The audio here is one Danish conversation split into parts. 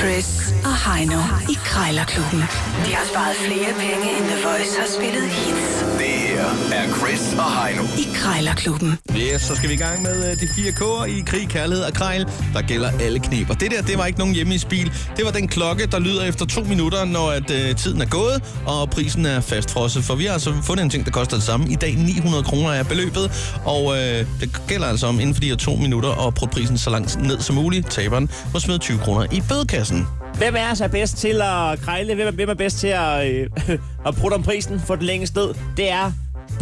Chris og Heino i Krejlerklubben. De har sparet flere penge, end The Voice har spillet hits Det her er Chris og Heino. i Krejlerklubben. Yes, så skal vi i gang med øh, de fire K'er i krig, kærlighed og krejl, der gælder alle kneber. Det der, det var ikke nogen hjemme i spil. Det var den klokke, der lyder efter to minutter, når at, øh, tiden er gået, og prisen er fastfrosset. For vi har altså fundet en ting, der koster det samme. I dag 900 kroner er beløbet, og øh, det gælder altså om inden for de her to minutter at putte prisen så langt ned som muligt. Taberen må smide 20 kroner i bødekassen. Hvem er så bedst til at krejle? Hvem er, hvem er bedst til at, øh, at prutte om prisen for den længste sted? Det er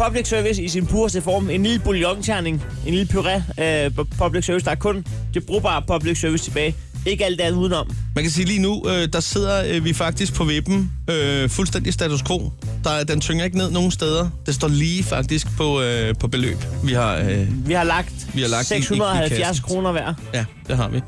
public service i sin pureste form. En lille bouillonterning, en lille puré øh, public service. Der er kun det brugbare public service tilbage. Ikke alt det andet udenom. Man kan sige lige nu, øh, der sidder øh, vi faktisk på vippen øh, fuldstændig status quo. Der, den tynger ikke ned nogen steder. Det står lige faktisk på, øh, på beløb. Vi har, øh, Vi har lagt, Vi har lagt i- i- i 670 kassen. kroner hver. ja, det har vi.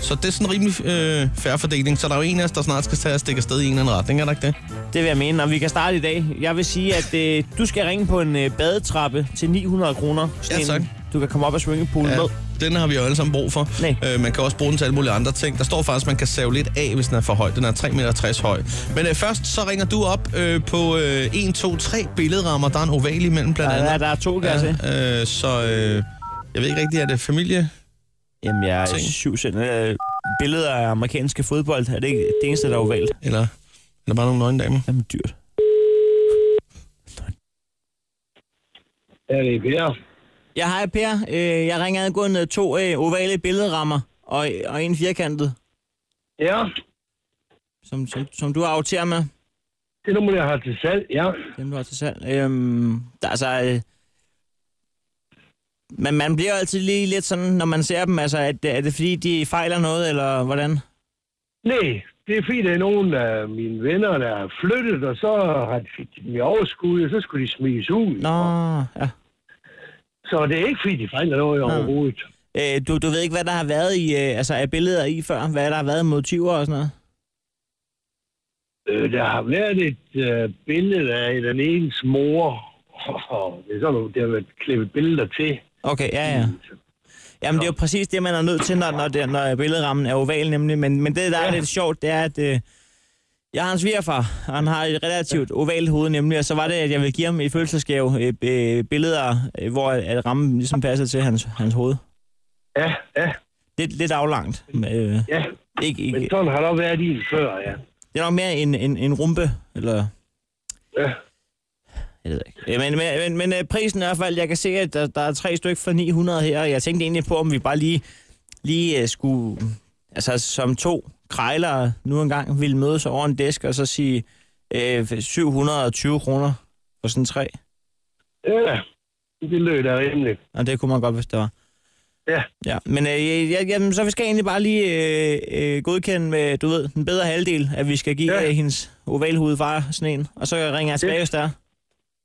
Så det er sådan en rimelig øh, færre fordeling. Så der er jo en af os, der snart skal tage og stikke afsted i en eller anden retning, er der ikke det? Det vil jeg mene, og vi kan starte i dag. Jeg vil sige, at øh, du skal ringe på en øh, badetrappe til 900 kroner. Sådan Ja, en, Du kan komme op og svinge poolen ja. med. Den har vi jo alle sammen brug for. Nej. Øh, man kan også bruge den til alle mulige andre ting. Der står faktisk, at man kan save lidt af, hvis den er for høj. Den er 3,60 meter høj. Men øh, først så ringer du op øh, på øh, 1, 2, 3 billedrammer. Der er en oval imellem blandt andet. Der, er- der er to, kan ja. jeg se. Ja, øh, så øh, jeg ved ikke rigtig, er det familie? Jamen, jeg er ting. syv cent. Øh, billeder af amerikanske fodbold, er det ikke det eneste, der er ovalt? Eller er der bare nogle nøgne damer? Jamen, dyrt. Ja, det er Per. Ja, hej Per. Øh, jeg ringer angående to øh, ovale billedrammer og, og en firkantet, Ja, som, som, som du har afteret med, det nummer, jeg har til salg, ja. dem du har til salg. Øhm, der er altså... Øh, men man bliver jo altid lige lidt sådan, når man ser dem, altså, er det, er det fordi, de fejler noget, eller hvordan? Nej, det er fordi, der er nogen af mine venner, der er flyttet, og så har de fik de dem i overskud, og så skulle de smides ud. Nå, ja. Så det er ikke fordi, de fejler noget overhovedet. Øh, du, du ved ikke, hvad der har været i, øh, altså, af billeder i før, hvad der har været af motiver og sådan noget? Øh, der har været et øh, billede af den enes mor, og det er sådan, nogle- der har været klippet billeder til. Okay, ja, ja. Jamen, det er jo præcis det, man er nødt til, når, når, det, når billedrammen er oval, nemlig. Men, men det, der er lidt sjovt, det er, at øh, jeg har en svigerfar, og han har et relativt ovalt hoved, nemlig. Og så var det, at jeg ville give ham i fødselsdagsgave øh, øh, billeder, øh, hvor at rammen ligesom passede til hans, hans hoved. Ja, ja, Lidt, lidt aflangt. men, Øh, ja. ikke, ikke. Men sådan har der været i før, ja. Det er nok mere en, en, en rumpe, eller... Ja, Jeg ved ikke. Øh, Men, men, men, men øh, prisen er i hvert fald, jeg kan se, at der, der er tre stykker for 900 her, og jeg tænkte egentlig på, om vi bare lige, lige øh, skulle, altså som to krejlere nu engang, ville mødes over en disk og så sige øh, 720 kroner for sådan tre. ja. det lød da rimeligt. Og det kunne man godt, hvis det var. Ja. Ja, men øh, ja, jamen, så vi skal egentlig bare lige øh, øh, godkende med, du ved, den bedre halvdel, at vi skal give ja. Ja. øh, hendes ovalhudfar sådan en, og så ringer jeg tilbage, hvis der.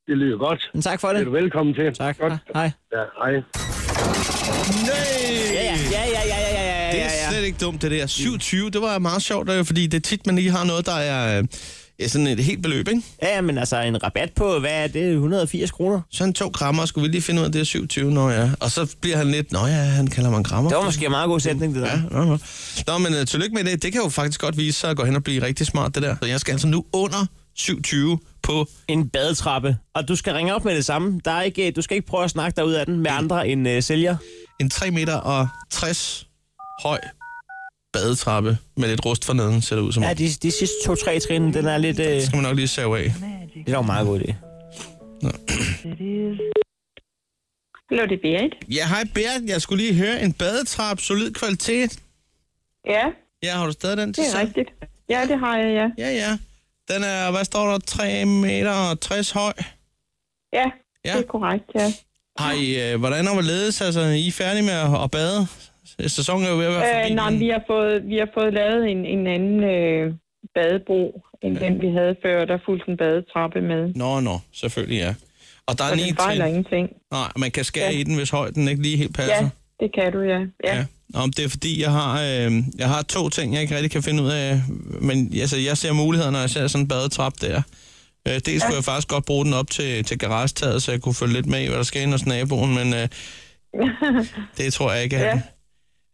Det lyder godt. Men tak for Det er det. du velkommen til. Tak. Godt. Hej. Ja, hej. Nej! Ja, ja, ja, ja, ja, ja, ja, ja, Det ja, er ja. slet ikke dumt, det der. 27, det var meget sjovt, øh, fordi det er tit, man lige har noget, der er øh, ja, sådan et helt beløb, ikke? Ja, men altså en rabat på, hvad er det, 180 kroner? Så han tog krammer, og skulle vi lige finde ud af, at det er 27, når ja. Og så bliver han lidt, nå ja, han kalder mig en krammer. Det var måske en meget god sætning, det der. Ja, ja, ja. Nå, men uh, tillykke med det. Det kan jo faktisk godt vise sig at gå hen og blive rigtig smart, det der. Så jeg skal altså nu under 27 på... En badetrappe. Og du skal ringe op med det samme. Der er ikke, øh, du skal ikke prøve at snakke dig ud af den med andre end uh, sælger. en 3 meter og 60 høj badetrappe med lidt rust for neden, ser det ud som om. Ja, de, de sidste to-tre trin, den er lidt... Øh, Det skal man nok lige save af. det er jo en meget god idé. Hallo, det er Berit. Ja, hej Bert. Jeg skulle lige høre en badetrappe, solid kvalitet. Ja, Ja, har du stadig den til det er salg? rigtigt. Ja, det har jeg, ja. Ja, ja. Den er, hvad står der, 3 meter og 60 høj. Ja, Ja. ja. det er korrekt, ja. Har I, øh, hvordan er hvorledes? Altså, I er færdige med at, at bade? Sæsonen er jo ved at være forbi. Øh, nej, men- men vi har fået, vi har fået lavet en, en anden øh, badebro, end den vi havde før, der fulgte en badetrappe med. Nå, nå, selvfølgelig ja. Og der er Og ni den fejler trin. ingenting. Nej, man kan skære Ja. i den, hvis højden ikke lige helt passer. Ja, det kan du, ja. Ja, Ja. ja. Nå, men det er fordi, jeg har, øh, jeg har to ting, jeg ikke rigtig kan finde ud af. Men altså, jeg ser muligheder, når jeg ser sådan en badetrap der. Øh, dels ja. kunne jeg faktisk godt bruge den op til, til garagetaget, så jeg kunne følge lidt med i, hvad der sker ind hos naboen, men øh, det tror jeg ikke. Ja. Ja.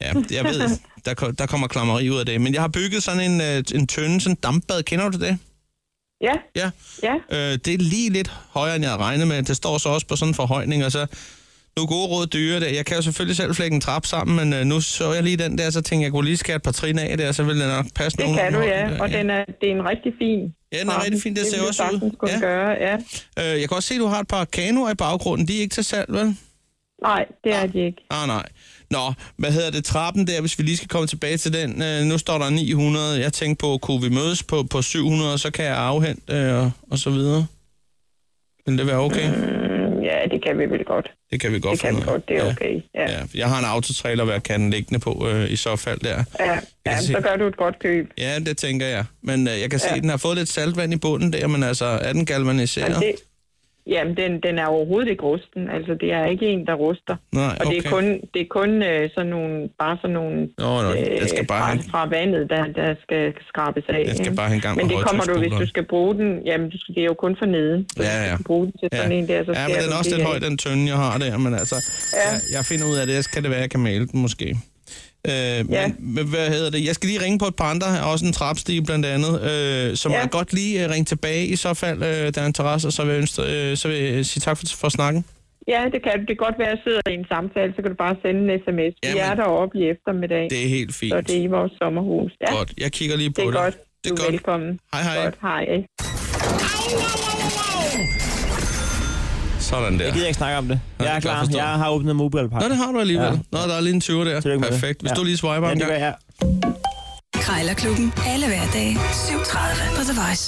Ja, det- jeg ved, der, ko- der kommer klammeri ud af det. Men jeg har bygget sådan en, øh, en tønde, sådan en dampbad. Kender du det? Ja, Ja. ja. Øh, det er lige lidt højere, end jeg havde regnet med. Det står så også på sådan en forhøjning, og så... Nu er gode råd dyre det. Jeg kan jo selvfølgelig selv flække en trap sammen, men øh, nu så jeg lige den der, så tænkte jeg, jeg kunne lige skære et par trin af der, så ville den nok passe Øh, Det kan du, ja. Og den er, det er en rigtig fin. Ja, den er trappe. rigtig fin. Det ser ville også ud. jeg sagtens kunne Ja. gøre, ja. Øh, jeg kan også se, at du har et par kanoer i baggrunden. De er ikke til salg, vel? Nej, det er de ikke. Ah, nej. Nå, hvad hedder det? Trappen der, hvis vi lige skal komme tilbage til den. Øh, nu står der 900. Jeg tænkte på, kunne vi mødes på, på 700, så kan jeg afhente øh, og, og så videre. Vil det være okay? Ja, det kan vi vel godt. Det kan vi godt Øh, Det kan finde vi ud af. godt, det er okay. Ja, Ja. Jeg har en autotrailer, hvor jeg kan den liggende på øh, i så fald der. ja. ja se- så gør du et godt køb. Ja, det tænker jeg. Men øh, jeg kan se, at den har fået lidt saltvand i bunden der, men altså, er den galvaniseret? Og det, jamen, den, den er overhovedet ikke rusten. Altså, det er ikke en, der ruster. Nej, Og det okay. er kun, det er kun øh, sådan nogle, bare sådan nogle Nå, nå, den skal bare fra, have- fra vandet, der, der skal skrabes af. Den skal ikke? bare have en gang Men med det kommer du, hvis højtryksspuleren. du skal bruge den, jamen du skal, det er jo kun for neden. Så Ja, hvis ja. Du skal bruge den til sådan en der, så ja, men skærer den du er også det lidt af. høj, den tønde, jeg har der, men altså, ja. jeg, jeg finder ud af det, så kan det være, jeg kan male den måske. Øh, ja. Ja. men, men hvad hedder det? Jeg skal lige ringe på et par andre, også en trapstige blandt andet, øh, som ja. Ja. jeg godt lige øh, ringe tilbage i så fald, øh, der er en terrasse, og så vil jeg, ønske, øh, så vil jeg sige tak for, for snakken. Ja, det kan du. Det kan godt være, at jeg sidder i en samtale, så kan du bare sende en sms. Vi Jamen. er deroppe i eftermiddag, Det er helt fint. så det er i vores sommerhus. Ja, Godt, jeg kigger lige på det det. er godt. Det Du er er godt. velkommen. Hej, hej. Godt, hej. Sådan der. Jeg gider ikke snakke om det. Nej, Jeg er det kan jeg klar. forstå. Jeg har åbnet mobile Nå, det har du alligevel. Ja. Ja. Nå, der er lige en 20 der. Tillykke med det. Perfekt. Hvis Ja. du lige swiper Ja, en det gang. gør jeg. Krejlerklubben. Alle hverdage 7.30 på The Voice.